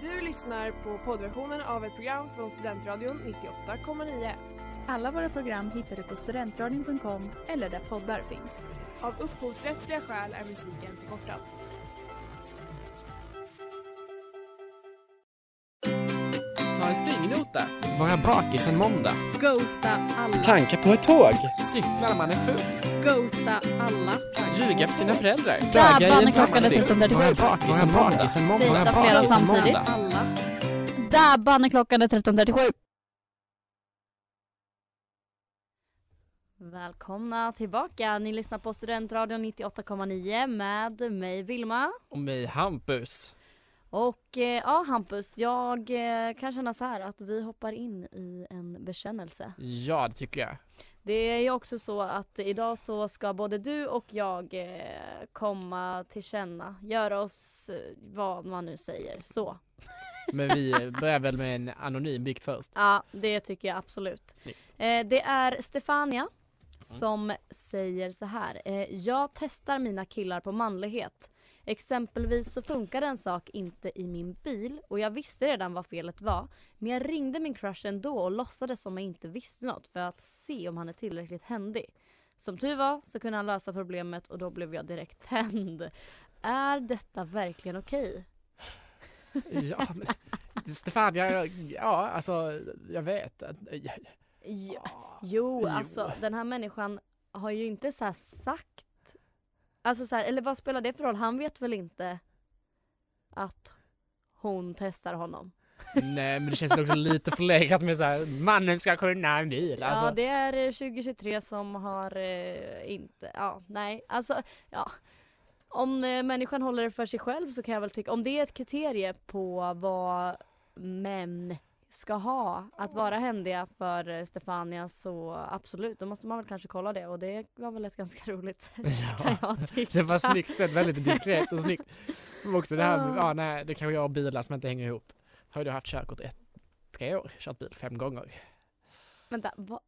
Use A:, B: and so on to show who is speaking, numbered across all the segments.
A: Du lyssnar på poddversionen av ett program från Studentradion 98,9.
B: Alla våra program hittar du på studentradion.com eller där poddar finns.
A: Av upphovsrättsliga skäl är musiken förkortad.
C: Ta en springnota.
D: Vara bakis en måndag.
E: Ghosta alla.
F: Planka på ett tåg.
D: Cykla när man är full.
E: Ghosta alla.
D: Ljuga för sina föräldrar.
E: Städmannen klockade
D: Vara
E: 13.37.
D: bakis en måndag.
F: en måndag.
D: Vara
E: Dejta flera
D: bakis en
E: samtidigt.
D: måndag.
E: Alla. Dabban klockan är 13.37. Välkomna tillbaka. Ni lyssnar på Studentradion 98,9 med mig Vilma.
D: Och mig Hampus.
E: Och eh, ja Hampus, jag eh, kan känna så här att vi hoppar in i en bekännelse.
D: Ja, det tycker jag.
E: Det är ju också så att idag så ska både du och jag eh, komma till känna. Göra oss eh, vad man nu säger. Så.
D: Men vi börjar väl med en anonym bikt först.
E: Ja, det tycker jag absolut.
D: Snyggt.
E: Eh, det är Stefania som säger så här. Eh, jag testar mina killar på manlighet. Exempelvis så funkade en sak inte i min bil och jag visste redan vad felet var. Men jag ringde min crush ändå och låtsades som jag inte visste något för att se om han är tillräckligt händig. Som tur var så kunde han lösa problemet och då blev jag direkt tänd. Är detta verkligen okej?
D: Ja, men Stefania, ja alltså jag vet. att-
E: Ja.
D: Ja.
E: Jo,
D: Jo.
E: alltså den här människan har ju inte så här sagt. Alltså så här, eller vad spelar det för roll? Han vet väl inte att hon testar honom.
D: Nej men det känns väl också lite förlegat med såhär, mannen ska kunna en bil. Alltså,
E: Ja, det är eh, 2023 som har eh, inte, ja, nej, alltså, ja. Om eh, människan håller det för sig själv så kan jag väl tycka, om det är ett kriterie på vad män ska ha, att vara händiga för eh, Stefania så absolut, då måste man väl kanske kolla det och det var väl ett ganska roligt sätt, kan
D: Ja.
E: jag tycka.
D: Det var snyggt sett, väldigt diskret och snyggt. Men också det här med, ja nej, det kanske jag och bilar som inte hänger ihop. Har ju du haft körkort ett, tre år, kört bil fem gånger.
E: Vänta, vad,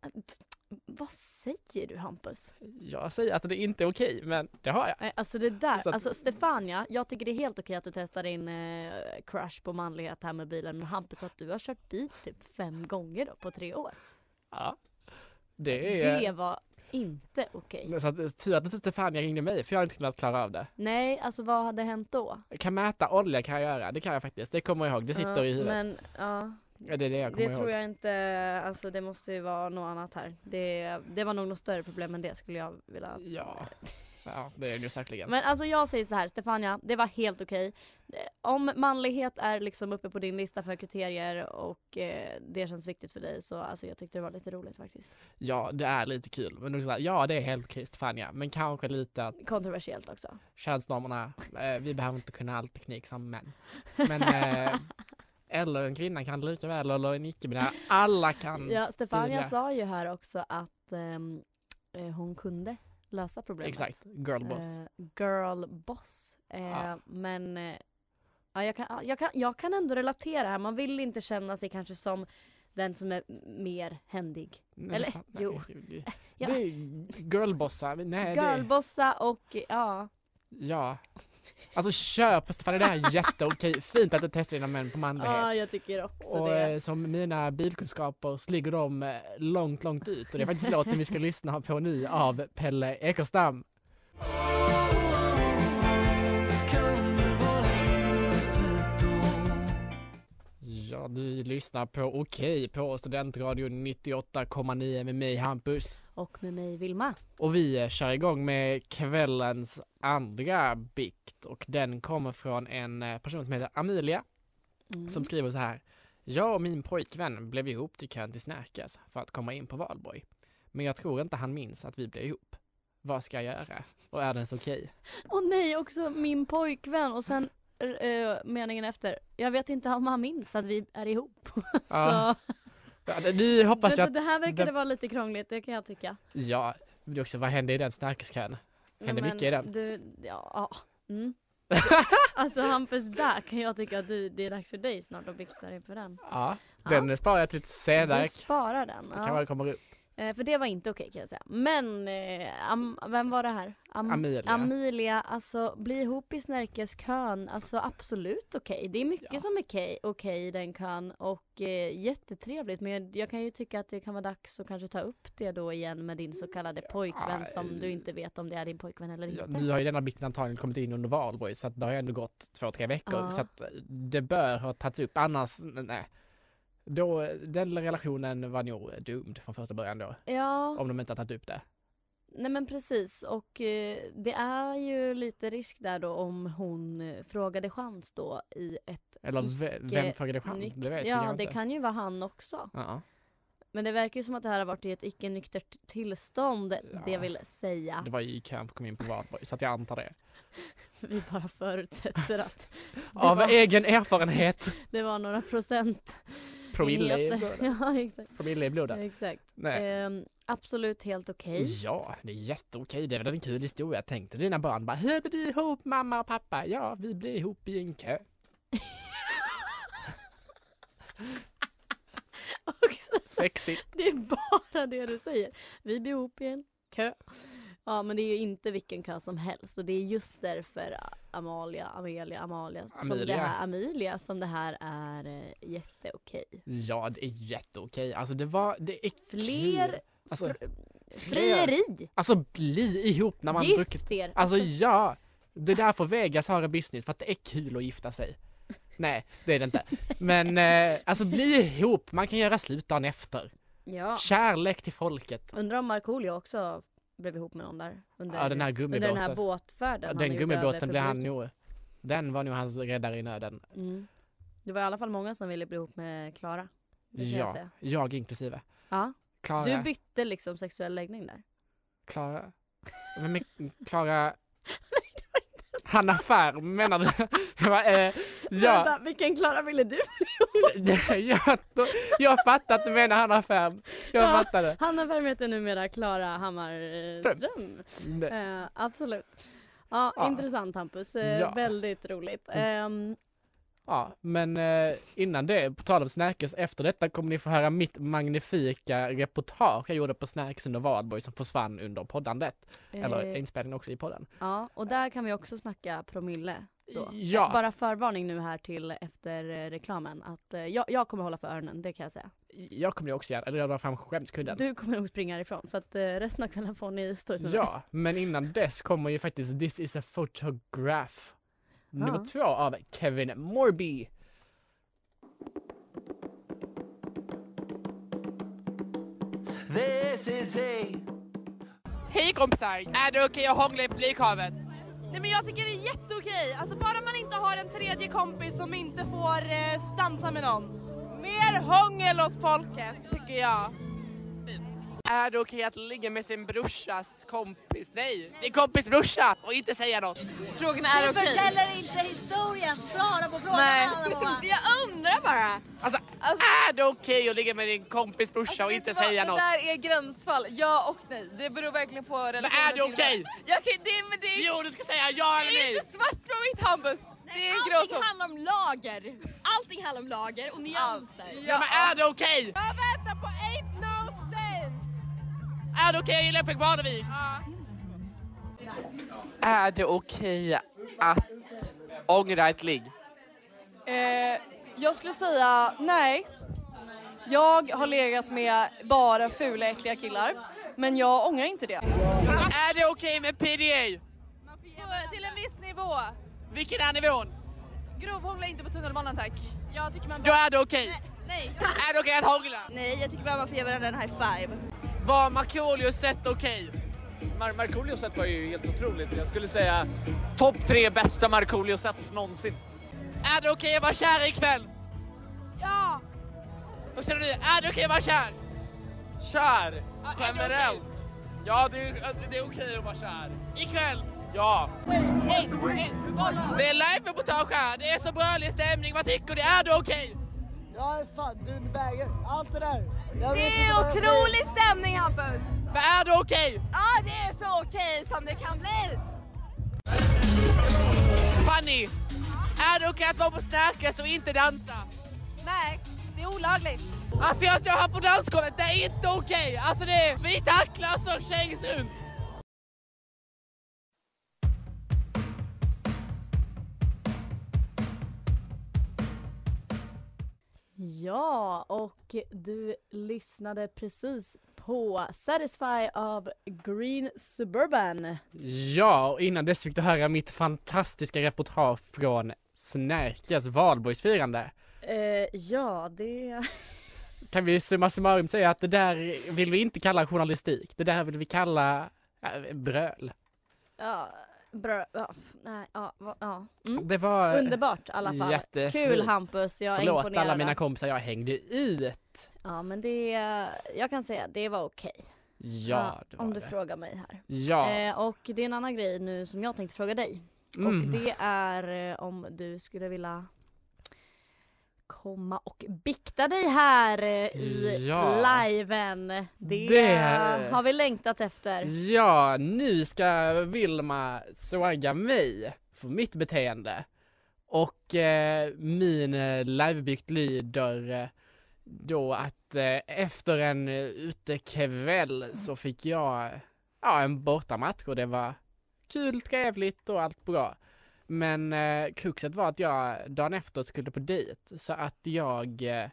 E: vad säger du Hampus?
D: Jag säger att det inte är okej, men det har jag.
E: Nej, Alltså det där,
D: Så att-
E: alltså Stefania, jag tycker det är helt okej att du testar in eh, crush på manlighet här med bilen men Hampus att du har kört bil typ fem gånger då på tre år.
D: Ja. Det är...
E: Det var inte okej.
D: Så att, tur att inte Stefania ringde mig för jag hade inte kunnat klara av det.
E: Nej, alltså vad hade hänt då?
D: Jag kan mäta olja kan jag göra, det kan jag faktiskt. Det kommer jag ihåg, det sitter
E: Ja,
D: i huvudet.
E: Men ja,
D: Ja, det är det jag kommer
E: det
D: ihåg.
E: tror jag inte, alltså det måste ju vara något annat här. Det, det var nog något större problem än det skulle jag vilja
D: Ja. ja, det är det säkerligen.
E: Men alltså jag säger så här, Stefania, det var helt okej. Eh, Om manlighet är liksom uppe på din lista för kriterier och eh, det känns viktigt för dig så alltså jag tyckte det var lite roligt faktiskt.
D: Ja, det är lite kul. Men också så här, ja, det är helt okej Stefania, men kanske lite att
E: Kontroversiellt också.
D: könsnormerna, eh, vi behöver inte kunna all teknik som män. Men, eh, eller en kvinna kan lika väl, eller en icke-binär. Alla kan.
E: Ja, Stefania
D: Julia.
E: sa ju här också att ehm, eh, hon kunde lösa problemet.
D: Exakt, girlboss.
E: Eh, girl boss. Eh,
D: Ja.
E: Men eh, ja, jag, kan, ja, jag, kan, jag kan ändå relatera här. Man vill inte känna sig kanske som den som är mer händig.
D: Nej,
E: eller,
D: fan, nej,
E: jo.
D: Det,
E: Ja.
D: det är girlbossar, men nej det
E: Girlbossa och ja.
D: Ja. Alltså köp på Stefania, det här är jätteokej. Fint att du testar dina män på manlighet.
E: Ja, jag tycker också
D: och
E: det.
D: eh, som mina bilkunskaper så ligger de eh, långt, långt ut. Och det är faktiskt låten vi ska lyssna på nu av Pelle Ekerstam. Ja, du lyssnar på Okej på Studentradion 98,9 med mig Hampus.
E: Och med mig Vilma.
D: Och vi eh, kör igång med kvällens andra bikt och den kommer från en eh, person som heter Amelia
E: Mm.
D: som skriver så här. Jag och min pojkvän blev ihop till kön till Snärkes för att komma in på valborg. Men jag tror inte han minns att vi blev ihop. Vad ska jag göra? Och är den så okej?
E: Och nej, också min pojkvän och sen eh, meningen efter. Jag vet inte om han minns att vi är ihop.
D: Ja,
E: Så,
D: Ja, det- nu hoppas
E: det,
D: jag att...
E: det här verkade
D: det-
E: vara lite krångligt, det kan jag tycka.
D: Ja, men det är också vad hände i den Snärkeskön? Händer mycket i den.
E: Du, ja. ja. Mm. alltså Hampus, där kan jag tycka att du, det är dags för dig snart att bikta dig på den.
D: Ja, den sparar jag till lite senare.
E: Du sparar den.
D: Det
E: Ja.
D: kan väl komma upp.
E: Eh, för det var inte okej kan jag säga. Men, eh, am, vem var det här? Am-
D: Amelia.
E: Amelia, alltså bli ihop i Snärkeskön, alltså absolut okej. Det är mycket
D: Ja.
E: som är okej okej i den kön och eh, jättetrevligt men jag, jag kan ju tycka att det kan vara dags att kanske ta upp det då igen med din så kallade pojkvän som du inte vet om det är din pojkvän eller
D: Mm, Ja,
E: inte.
D: nu har ju denna biten antagligen kommit in under valborg så att det har ju ändå gått två, tre veckor
E: Ja.
D: så att eh, det bör ha tagits upp annars, nej. Då, den relationen var nog doomed från första början då,
E: Ja.
D: om de inte har tagit upp det.
E: Nej men precis och eh, det är ju lite risk där då om hon eh, frågade chans då i ett
D: Eller ve- vem frågade chans?
E: eh, nykt-
D: Det vet vi
E: Ja
D: kanske
E: det
D: inte.
E: kan ju vara han också.
D: Ja.
E: Men det verkar ju som att det här har varit i ett icke nyktert tillstånd det
D: Ja.
E: vill säga.
D: Det var ju i kön för att komma in på valborg så att jag antar det.
E: Vi bara förutsätter att det,
D: Av
E: var,
D: egen erfarenhet!
E: det var några procent.
D: Promille i
E: enheter.
D: blodet.
E: Ja exakt.
D: Promille i blodet.
E: exakt.
D: Nej. Mm.
E: Ehm, absolut helt okej.
D: Ja, det är jätteokej. Det är väl en kul historia. Tänkte dina barn bara, hur blir du ihop mamma och pappa? Ja, vi blir ihop i en kö.
E: Och sen-
D: Sexigt.
E: Det är bara det du säger. Vi blir ihop i en kö. Ja men det är ju inte vilken kö som helst och det är just därför Amalia, Amelia, Amalia som
D: Amelia.
E: det här, Amelia som det här är eh, jätteokej.
D: Ja, det är jätteokej. Alltså det var, det är kul.
E: Fler
D: Alltså,
E: frieri!
D: alltså bli ihop när man druckit.
E: Gift er!
D: Alltså ja, det är därför Vegas har en business, för att det är kul att gifta sig. Nej, det är det inte. Men eh, alltså bli ihop, man kan göra slut dagen efter.
E: ja.
D: Kärlek till folket.
E: Undrar om Markoolio också blev ihop med någon där under,
D: Ja, den här
E: under den här
D: gummibåten.
E: båtfärden.
D: Ja,
E: han
D: Den
E: gjorde över
D: gummibåten blev han
E: publiken.
D: nog, den var nog hans räddare i nöden.
E: Mm. Det var i alla fall många som ville bli ihop med Klara. Det kan jag
D: Ja,
E: säga.
D: jag inklusive.
E: Ja. Du
D: Klara,
E: bytte liksom sexuell läggning där.
D: Klara, vem är Klara? Hanna Färm menar du? Jag bara, eh, ja,
E: vilken Klara ville du?
D: jag, jag fattar att du menar Hanna Färm. Jag
E: Ja.
D: fattade.
E: Hanna Ferm heter numera Klara Hammarström.
D: Nej.
E: Eh, absolut. Ja,
D: Ja.
E: intressant Hampus. Eh,
D: Ja. Mm.
E: Väldigt roligt. Ehm,
D: Ja, men eh, innan det, på tal om Snärkes, efter detta kommer ni få höra mitt magnifika reportage jag gjorde på Snärkes under Valborg som försvann under poddandet. Eller
E: eh,
D: inspelningen också i podden.
E: ja, och där kan vi också snacka promille. Då.
D: Ja.
E: Eh, Bara förvarning nu här till efter eh, reklamen att eh, jag, jag kommer hålla för öronen, det kan jag säga.
D: Jag kommer ju också göra, eller jag drar fram skämskudden.
E: Du kommer nog springa härifrån så att eh, resten av kvällen får ni stå ut med mig.
D: Ja, men innan dess kommer ju faktiskt This is a photograph nummer
E: Ja.
D: två av Kevin Morby.
F: Hej kompisar! Är det okej att hångla i publikhavet?
G: Nej men jag tycker det är jätteokej. Alltså bara man inte har en tredje kompis som inte får eh, stansa med någon. Mer hångel åt folket tycker jag.
F: Är det okej att ligga med sin brorsas kompis? Nej, din kompis brorsa! Och inte säga något.
G: Frågan är okej.
H: Eller inte historien, svara på frågan
G: Nej.
H: Anna-Moa.
G: Jag undrar bara.
F: Alltså,
G: Alltså-
F: är det okej att ligga med din kompis brorsa och inte
G: Vet du vad?
F: säga något?
G: Det där är gränsfall, ja och nej. Det beror verkligen på relationen.
F: är det
G: till
F: okej?
G: varandra. Jag kan, det, men det, är-
F: Jo, du ska säga ja eller
G: det är
F: nej!
G: inte svart på mitt Hampus. Det är en gråzon.
H: Allting handlar om lager. Allting handlar om lager och nyanser.
F: Ja, men är det okej?
G: Jag väntar på ain't no sense.
F: Är det okej att gilla Peg Barnevik? Är det okej att ångra ett ligg?
G: Eh, jag skulle säga nej. Jag har legat med bara fula äckliga killar. Men jag ångrar inte det.
F: Är det okej med PDA?
G: Till en viss nivå.
F: Vilken är nivån?
G: Grovhångla inte på tunnelbanan tack. Jag tycker man
F: Då är det okej.
G: Nej.
F: Är det okej att hångla?
G: Nej, jag tycker bara man får ge varandra en high five.
F: Var Markoolios sätt okej?
I: Mar- Markoolios set var ju helt otroligt. Jag skulle säga topp tre bästa Markoolios sets någonsin.
F: Är det okej att vara kär ikväll?
G: Ja!
F: Vad känner du? Är det okej att vara kär?
I: Kär!
F: generellt.
I: Ja, det är, det är okej att vara kär.
F: Ikväll?
I: Ja.
F: Det är live-reportage här, det är så brölig stämning. Vad tycker du? Är det okej?
J: Ja, fan, du är en bäger. Allt det där. Jag
G: Det
J: vet
G: är
J: inte vad jag säger.
G: otrolig stämning Hampus!
F: Men är det okej?
G: Ja, det är så okej som det kan bli!
F: Fanny, är det okej att vara på Snärkes och inte dansa?
G: Nej, Det är olagligt.
F: Alltså jag står här på dansgolvet, det är inte okej! Alltså det är, vi tacklas och kängs runt!
E: Ja, och du lyssnade precis på Satisfy av Green Suburban.
D: Ja, och innan dess fick du höra mitt fantastiska reportage från Snärkes valborgsfirande.
E: Eh, ja, det...
D: Kan vi summa summarum säga att det där vill vi inte kalla journalistik, det där vill vi kalla äh, bröl.
E: Ja, bra. Ja, f- nej, ja, va- ja. Mm.
D: Det var
E: Underbart i alla fall.
D: Eh, jättefint.
E: Kul Hampus, jag är
D: Förlåt
E: imponerad.
D: alla mina kompisar, jag hängde ut.
E: Ja, men det... Jag kan säga, det var okej.
D: Ja, det var
E: om du
D: det.
E: frågar mig här.
D: Ja,
E: Eh, och det är en annan grej nu som jag tänkte fråga dig. Och
D: Mm.
E: det är eh, om du skulle vilja komma och bikta dig här eh, i
D: Ja.
E: liven. Det,
D: Det-
E: eh, har vi längtat efter.
D: ja, nu ska Vilma såga mig för mitt beteende. Och eh, min eh, livebykt lyder eh, då att eh, efter en eh, utekväll så fick jag eh, ja, en bortamatch och det var kul, trevligt och allt bra. Men eh, kruxet var att jag dagen efter skulle på dejt så att jag eh,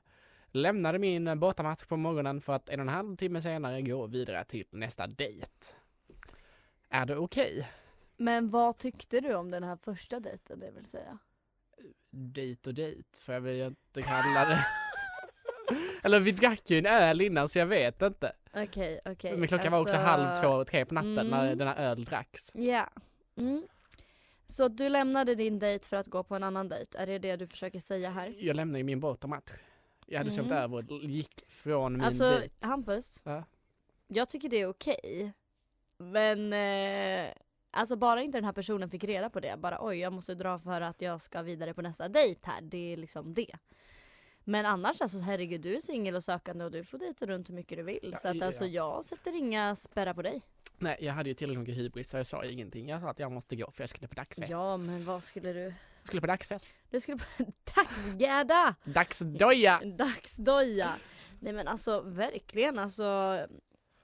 D: lämnade min eh, bortamatch på morgonen för att en och en halv timme senare gå vidare till nästa dejt. Är det okej?
E: Men vad tyckte du om den här första dejten det vill säga?
D: Dejt och dejt får jag väl inte kalla det. Eller vi drack ju en öl innan så jag vet inte.
E: Okej, okej.
D: Men klockan var också
E: Alltså,
D: halv två, tre på natten när
E: Mm.
D: den här öl dracks.
E: Ja. Mm. Så att du lämnade din dejt för att gå på en annan dejt, är det det du försöker säga här?
D: Jag lämnade ju min bortamatch. Jag hade sovit
E: Mm.
D: över och gick från min
E: alltså,
D: dejt.
E: Hampus.
D: Ja.
E: Jag tycker det är okej. Men, eh, alltså bara inte den här personen fick reda på det. Bara oj, jag måste dra för att jag ska vidare på nästa dejt här. Det är liksom det. Men annars alltså herregud, du är singel och sökande och du får dejta runt hur mycket du vill.
D: Ja,
E: så att
D: ja.
E: alltså jag sätter inga spärrar på dig.
D: Nej, jag hade ju tillräckligt mycket hybris så jag sa ingenting. Jag sa att jag måste gå för jag skulle på dagsfest.
E: Ja, men vad skulle du?
D: Skulle på dagsfest.
E: Du skulle på dagsgädda!
D: Dagsdoja!
E: Dagsdoja! Nej men alltså verkligen alltså.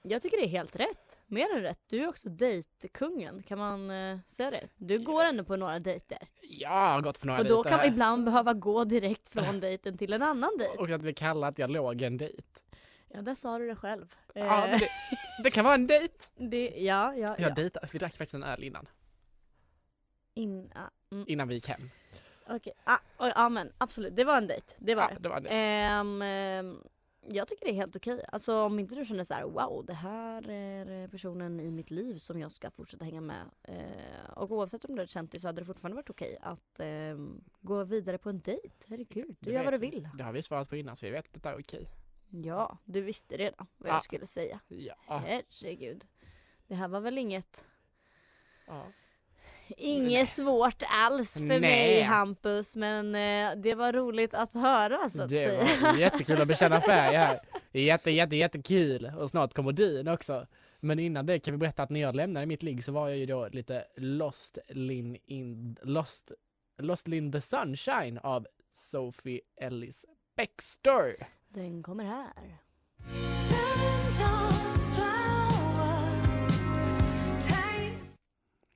E: Jag tycker det är helt rätt. Mer än rätt. Du är också dejtkungen. Kan man eh, säga det? Du går ändå på några dejter.
D: Jag har gått på några
E: Och då kan man
D: dejter.
E: ibland behöva gå direkt från dejten till en annan dejt.
D: Och att vi kallar att jag låg en dejt.
E: Ja, där sa du det själv.
D: Ja,
E: Eh,
D: men det, det kan vara en dejt.
E: det, ja, ja,
D: Jag
E: ja.
D: dejtade, vi drack faktiskt en öl innan.
E: In, ah, mm,
D: Innan vi gick hem.
E: Okej, ah, oj, ja men absolut. Det var en dejt. Det var
D: Ja,
E: det.
D: det var det.
E: Ehm, ehm, jag tycker det är helt okej. Alltså om inte du känner så här: wow det här är eh, personen i mitt liv som jag ska fortsätta hänga med. Eh, och oavsett om du hade känt det så hade det fortfarande varit okej att ehm, gå vidare på en dejt. Herregud, du gör
D: vet
E: vad du
D: vi.
E: vill.
D: Det har vi svarat på innan så vi vet att detta är okej.
E: Ja, du visste redan vad
D: Ja.
E: jag skulle säga.
D: Ja.
E: Herregud. Det här var väl inget,
D: ja. Nej.
E: inget svårt alls för mig
D: Nej.
E: Hampus. Men eh, det var roligt att höra så att
D: Det
E: säga.
D: var jättekul att bekänna färg här. Jätte, jätte, jättekul. Och snart kommer din också. Men innan det kan vi berätta att när jag lämnade mitt ligg så var jag ju då lite lost in, in lost, lost in the sunshine av Sophie Ellis Bextor.
E: Den kommer här.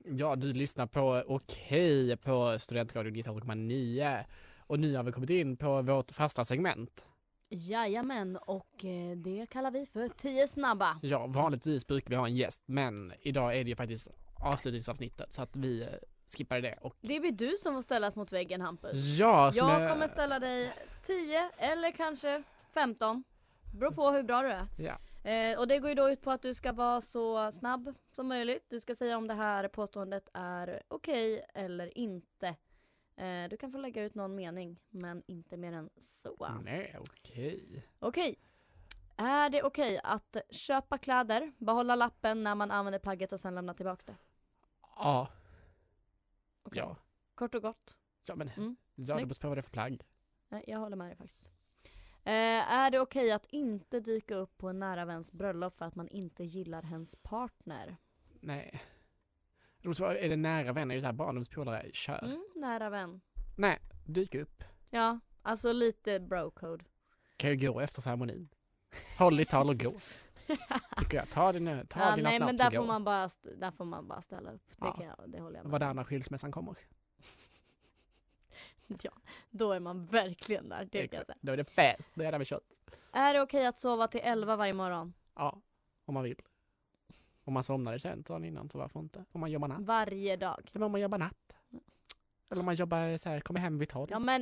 D: Ja, du lyssnar på Okej på Studentradion 19,9 och nu har vi kommit in på vårt fasta segment.
E: Jajamän, och eh, det kallar vi för 10 snabba.
D: Ja, vanligtvis brukar vi ha en gäst, men idag är det ju faktiskt avslutningsavsnittet så att vi eh, skippar det och
E: Det blir du som får ställas mot väggen Hampus.
D: ja, som
E: Jag kommer ställa dig 10 eller kanske 15. Beror på hur bra du är.
D: Ja.
E: Eh, och det går ju då ut på att du ska vara så snabb som möjligt. Du ska säga om det här påståendet är okej eller inte. Eh, du kan få lägga ut någon mening, men inte mer än så.
D: Nej, okej.
E: Okej. Är det okej att köpa kläder, behålla lappen när man använder plagget och sen lämna tillbaka det?
D: Ja,
E: Okej.
D: ja,
E: Kort och gott.
D: ja men
E: Mm,
D: ja, det
E: snyggt.
D: beror på vad det är för plagg.
E: Nej, jag håller med dig faktiskt. Eh, är det okej att inte dyka upp på en nära väns bröllop för att man inte gillar hens partner?
D: Nej. Det beror på, är det nära vänner, är det så här barndomspolare, kör.
E: Mm, nära vän.
D: Nej, dyk upp.
E: Ja, alltså lite bro code.
D: kan ju gå efter ceremonin. Håll ditt tal och gå. Tycker jag. Ta dina, ta
E: Ja,
D: dina
E: nej men
D: snaps
E: där
D: och
E: får,
D: gå.
E: man bara, st- där får man bara ställa upp. Det,
D: Ja.
E: kan jag, det håller jag med
D: Vad det
E: om.
D: är när skilsmässan kommer.
E: Ja, Då är man verkligen där. Det kan jag säga.
D: Då är det fest, då är det med kött.
E: Är det okej att sova till 11 varje morgon?
D: Ja, om man vill. Om man somnade sent dagen innan så varför inte? Om man jobbar natt.
E: Varje dag?
D: Eller om man jobbar natt. Eller om man jobbar så här, kommer hem vid tolv.
E: Ja men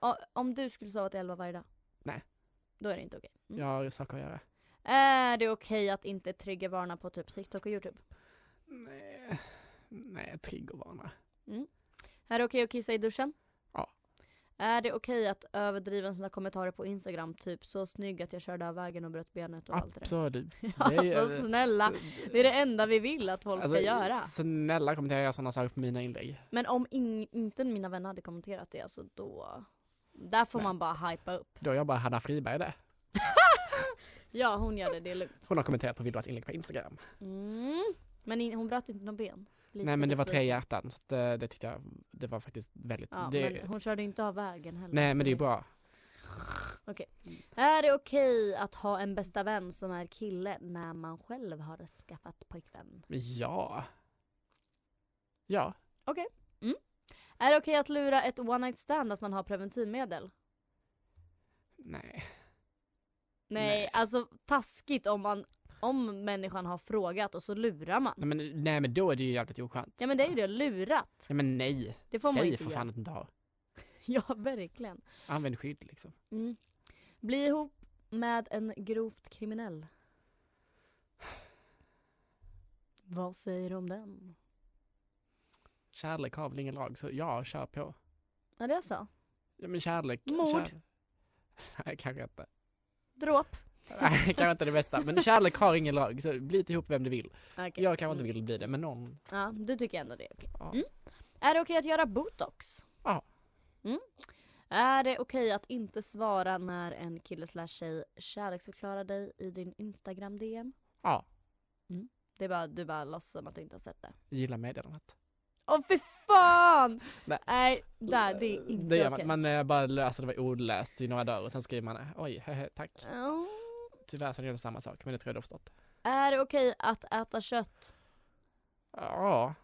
E: o- om du skulle sova till 11 varje dag?
D: Nej.
E: Då är det inte okej. Mm.
D: Jag har saker att göra.
E: Är det okej att inte triggervarna på typ TikTok och Youtube?
D: Nej, nej triggervana.
E: Är det okej att kissa i duschen?
D: Ja.
E: Är det okej att överdriva sina kommentarer på Instagram? Typ så snygg att jag körde av vägen och bröt benet och allt det där.
D: Absolut. eh,
E: Alltså snälla, det är det enda vi vill att folk ska
D: Alltså,
E: göra.
D: Snälla kommentera sådana saker på mina inlägg.
E: Men om ing- inte mina vänner hade kommenterat det, alltså då... Där får
D: Nej.
E: man bara hypa upp.
D: Då jobbar Hanna Friberg där.
E: Ja, hon gör det, det är lugnt.
D: Hon har kommenterat på Vilvas inlägg på Instagram.
E: Mm. Men in- hon bröt inte något ben. Lite
D: Nej men det var tre
E: besviken.
D: hjärtan. Så det, det tyckte jag, det var faktiskt väldigt...
E: Ja,
D: det,
E: men hon körde inte av vägen heller.
D: nej
E: så
D: men det är bra.
E: Är det okej att ha en bästa vän som är kille när man själv har skaffat pojkvän?
D: Ja. Ja.
E: Är det okej att lura ett one night stand att man har preventivmedel?
D: Nej.
E: Nej,
D: Nej.
E: alltså taskigt om man om människan har frågat och så lurar man.
D: Nej men, nej, men då är det ju jävligt oskönt.
E: Ja men det är ju det, lurat.
D: Nej men nej.
E: Det får man
D: Säg
E: inte
D: för
E: göra.
D: fan att du inte har.
E: Ja, verkligen.
D: Använd skydd liksom.
E: Mm. Bli ihop med en grovt kriminell. Vad säger du om den?
D: Kärlek har väl ingen lag så ja, kör på.
E: Ja, det är så.
D: Ja men kärlek.
E: Mord.
D: kär- Nej kanske inte.
E: Dråp.
D: Nej kanske inte det bästa. Men kärlek har ingen lag så bli inte ihop med vem du vill.
E: Okej.
D: Jag kanske inte vill bli det men någon.
E: Ja, du tycker ändå det är okej.
D: Ja.
E: Mm. Är det okej att göra botox?
D: Ja.
E: Mm. Är det okej att inte svara när en kille slash tjej kärleksförklarar dig i din Instagram-DM?
D: Ja.
E: Det är bara, du bara låtsas som att du inte har sett det.
D: Gilla meddelandet.
E: Åh fy fan!
D: Nej.
E: Nej, där, det är inte
D: Det gör
E: okej.
D: man. Man eh, bara löser det var ordlöst i några dagar och sen skriver man eh, oj, hehe, tack.
E: Ja.
D: Tyvärr så är det ändå samma sak men det tror jag du har förstått.
E: Är det okej att äta kött?
D: Ja.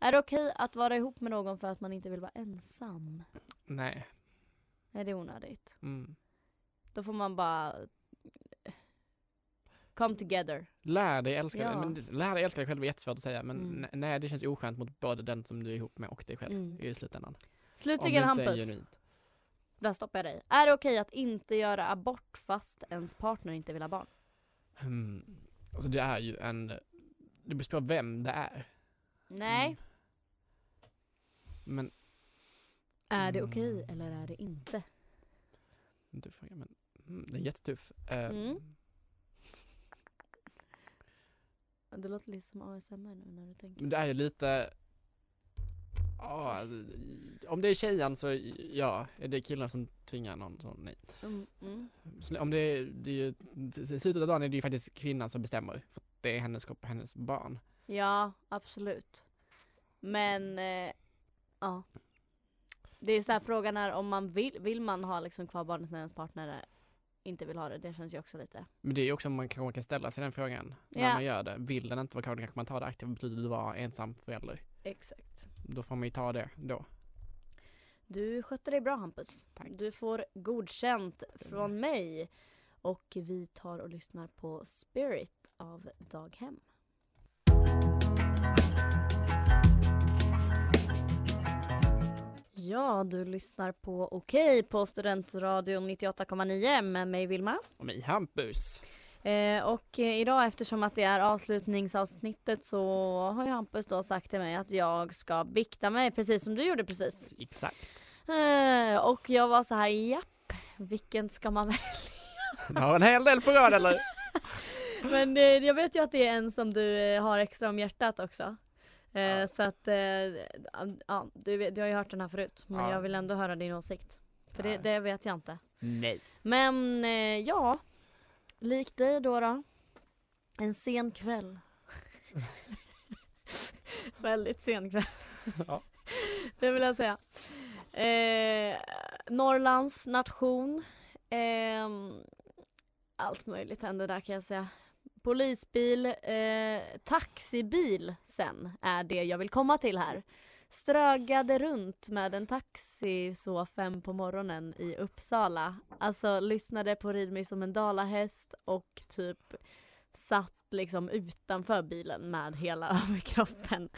E: Är det okej att vara ihop med någon för att man inte vill vara ensam?
D: Nej.
E: Nej, det är onödigt.
D: Mm.
E: Då får man bara... eh, Come together.
D: Lär dig älska
E: Ja.
D: dig. Men det- lär dig älska dig själv är jättesvårt att säga men
E: Mm.
D: ne- nej det känns oskönt mot både den som du är ihop med och dig själv
E: Mm.
D: i slutändan.
E: Slutligen
D: Om det inte är
E: Hampus.
D: genuint.
E: Där stoppar jag dig. Är det okej att inte göra abort fast ens partner inte vill ha barn?
D: Hmm. Alltså det är ju en, det beror på vem det är.
E: Nej.
D: Mm. Men,
E: Är det
D: Mm.
E: okej eller är det inte?
D: en tuff fråga men, mm, det är jättetuff. Eh,
E: Mm. Det låter lite som ASMR nu när du tänker.
D: Men det är ju lite, ja, om det är tjejen så ja, är det killen som tvingar någon så nej.
E: Mm, mm.
D: Så Om det är, det är ju, i slutet av dagen är det ju faktiskt kvinnan som bestämmer. För att det är hennes kropp och hennes barn.
E: Ja, absolut. Men, eh, ja. Det är ju så här frågan är om man vill, vill man ha liksom kvar barnet när ens partner inte vill ha det? Det känns ju också lite.
D: Men det är ju också om man kanske kan ställa sig den frågan
E: Ja.
D: när man gör det. Vill den inte vara kvar, då kanske man tar det aktiva beslutet att vara ensam förälder.
E: Exakt.
D: Då får man ju ta det då.
E: Du skötte dig bra Hampus.
D: Tack.
E: Du får godkänt från mig. Och vi tar och lyssnar på Spirit av Daghem. Ja, du lyssnar på Okej på Studentradion 98,9 med mig Vilma.
D: Och mig Hampus.
E: Eh, och eh, idag eftersom att det är avslutningsavsnittet så har ju Hampus då sagt till mig att jag ska bikta mig precis som du gjorde precis.
D: Exakt.
E: Eh, Och jag var så här, japp, vilken ska man välja?
D: Du har en hel del på rad eller?
E: Men eh, jag vet ju att det är en som du eh, har extra om hjärtat också. Eh,
D: Ja.
E: Så att, eh, ja, du, vet- du har ju hört den här förut, men
D: Ja.
E: jag vill ändå höra din åsikt. För det,
D: Nej.
E: det vet jag inte.
D: Nej.
E: Men eh, ja, lik dig då då. En sen kväll. Väldigt sen kväll.
D: Ja.
E: Det vill jag säga. Eh, Norrlands nation. Ehm, allt möjligt hände där kan jag säga. Polisbil, eh, taxibil sen är det jag vill komma till här. Strögade runt med en taxi så fem på morgonen i Uppsala. Alltså lyssnade på Rid mig som en dalahäst och typ satt liksom utanför bilen med hela överkroppen.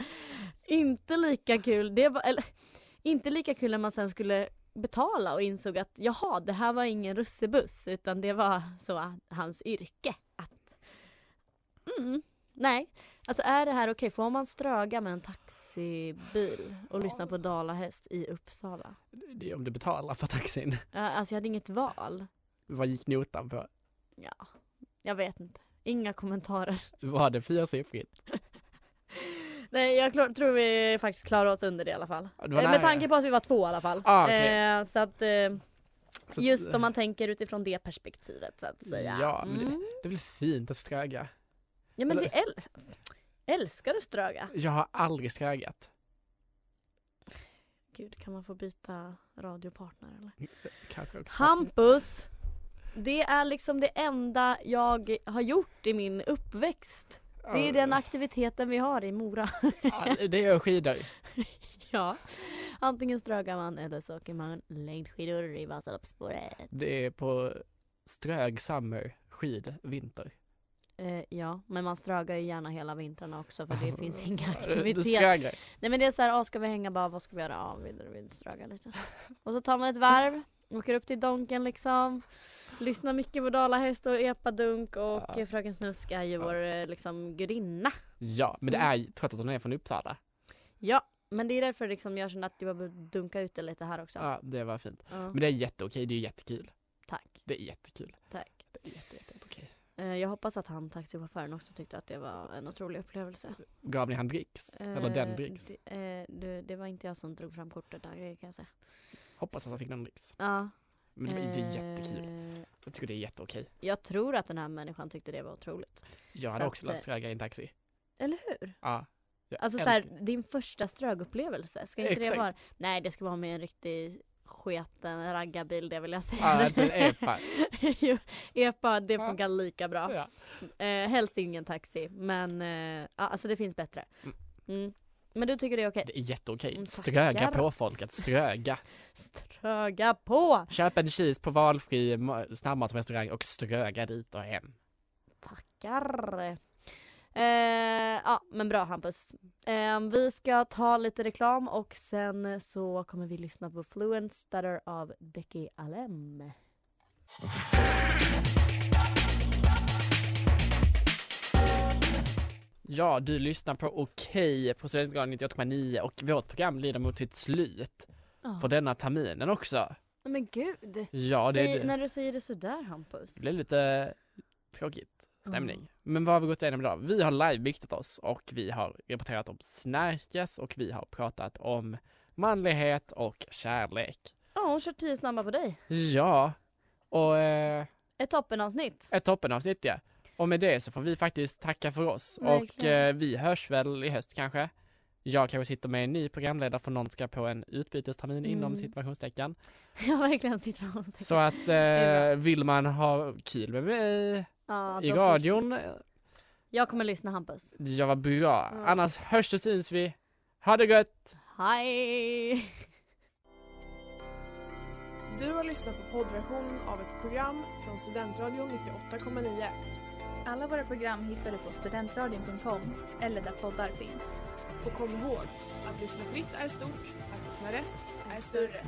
E: Inte lika kul, det var, eller inte lika kul när man sen skulle betala och insåg att jaha, det här var ingen russebuss utan det var så hans yrke att... Mm, nej. Alltså är det här okej? Får man ströga med en taxibil och lyssna på dalahäst i Uppsala?
D: Det är om du betalar för taxin.
E: Eh, Alltså jag hade inget val.
D: Vad gick notan på?
E: Ja, jag vet inte. Inga kommentarer.
D: Var det fyrsiffrigt?
E: Nej, jag klar, tror vi faktiskt klarar oss under det i alla fall.
D: Ja, det var
E: Eh, Med
D: nära.
E: tanke på att vi var två i alla fall.
D: Ah, okej.
E: Eh, så att, eh,
D: Så att- eh,
E: just om man tänker utifrån det perspektivet så att säga.
D: Ja, men
E: Mm.
D: Det är väl fint att ströga?
E: Ja men
D: Eller-
E: det äl älskar du ströga?
D: Jag har aldrig strögat.
E: Gud, kan man få byta radiopartner eller?
D: Kanske också.
E: Hampus! Det är liksom det enda jag har gjort i min uppväxt. Det är den aktiviteten vi har i Mora.
D: Ja, Det är skidor.
E: ja. Antingen strögar man eller så åker man längdskidor i Vasaloppsspåret.
D: Det är på strög summer, skid, vinter.
E: Eh, ja, men man strögar ju gärna hela vintrarna också för det finns inga
D: Du
E: aktiviteter.
D: strögar.
E: Nej men det är så här, ah, ska vi hänga bara, vad ska vi göra? Ja, vi, vi strögar lite. Och så tar man ett varv, åker upp till Donken liksom. Lyssnar mycket på Dalahäst och Epadunk och
D: Ja.
E: eh, Fröken Snusk är ju vår eh, liksom gudinna.
D: Ja, men det
E: Mm.
D: är ju- trots att hon är från Uppsala.
E: Ja, men det är därför liksom jag känner att jag behöver dunka ut det lite här också.
D: Ja, det var fint.
E: Ja,
D: Men det är jätteokej, det är jättekul.
E: tack,
D: Det är jättekul.
E: tack.
D: Det är jätte, jätte, jätteokej.
E: Eh, jag hoppas att han taxichauffören också tyckte att det var en otrolig upplevelse.
D: Gav ni han dricks? Eller den
E: Eh,
D: dricks?
E: Det, eh, det, det var inte jag som drog fram kortet där kan jag säga.
D: Hoppas att han fick den dricks.
E: Ja,
D: Men det, var- det är jättekul.
E: eh,
D: Jag tycker det är jätteokej.
E: Jag tror att den här människan tyckte det var otroligt.
D: Jag
E: Så
D: hade också
E: att,
D: velat
E: eh,
D: ströga i en taxi.
E: Eller hur?
D: Ja. Jag
E: Alltså
D: älskar-
E: såhär, din första strögupplevelse, ska inte det
D: Exakt.
E: vara... Nej, det ska vara med en riktig sketen raggarbil, det vill jag säga.
D: Ja, inte en epa.
E: jo, epa, det
D: Ja.
E: funkar lika bra.
D: Ja.
E: Eh, helst ingen taxi, men eh, ja, alltså det finns bättre. Mm. Men du tycker det är okej?
D: Det är jätteokej.
E: Mm,
D: Ströga
E: tackar.
D: på folket, ströga.
E: Ströga på!
D: Köp en cheese på valfri ma- snabbmatsrestaurang och ströga dit och hem.
E: Tackar! Eh, ja, men bra Hampus. Eh, vi ska ta lite reklam och sen så kommer vi lyssna på Fluent Stutter av Becky Alem.
D: Ja, du lyssnar på Okej på Studentgraden 98,9 och vårt program lider mot sitt slut
E: Ja.
D: för denna terminen också.
E: Nej, Men gud!
D: Ja, det,
E: Säg,
D: det
E: När du säger det sådär Hampus.
D: blir lite tråkigt stämning. Men vad har vi gått igenom idag? Vi har livebiktat oss och vi har rapporterat om snärkes och vi har pratat om manlighet och kärlek.
E: Ja, hon kör tio snabba på dig.
D: Ja, och eh,
E: Ett toppenavsnitt.
D: ett toppenavsnitt ja. Och med det så får vi faktiskt tacka för oss och
E: Verkligen.
D: eh, vi hörs väl i höst kanske. Jag kanske sitter med en ny programledare för någon ska på en utbytestermin
E: Mm.
D: inom situationstecken.
E: Jag verkligen sitter och
D: Så att eh, vill man ha kul med mig
E: ja, då
D: i
E: får-
D: radion, eh,
E: Jag kommer lyssna Hampus.
D: ja vad bra.
E: Ja.
D: Annars hörs och syns vi. Ha det gött!
E: Hej!
A: Du har lyssnat på poddversionen av ett program från Studentradion 98,9.
B: Alla våra program hittar du på studentradion.com eller där poddar finns.
A: Och kom ihåg, att lyssna fritt är stort, att lyssna rätt är större.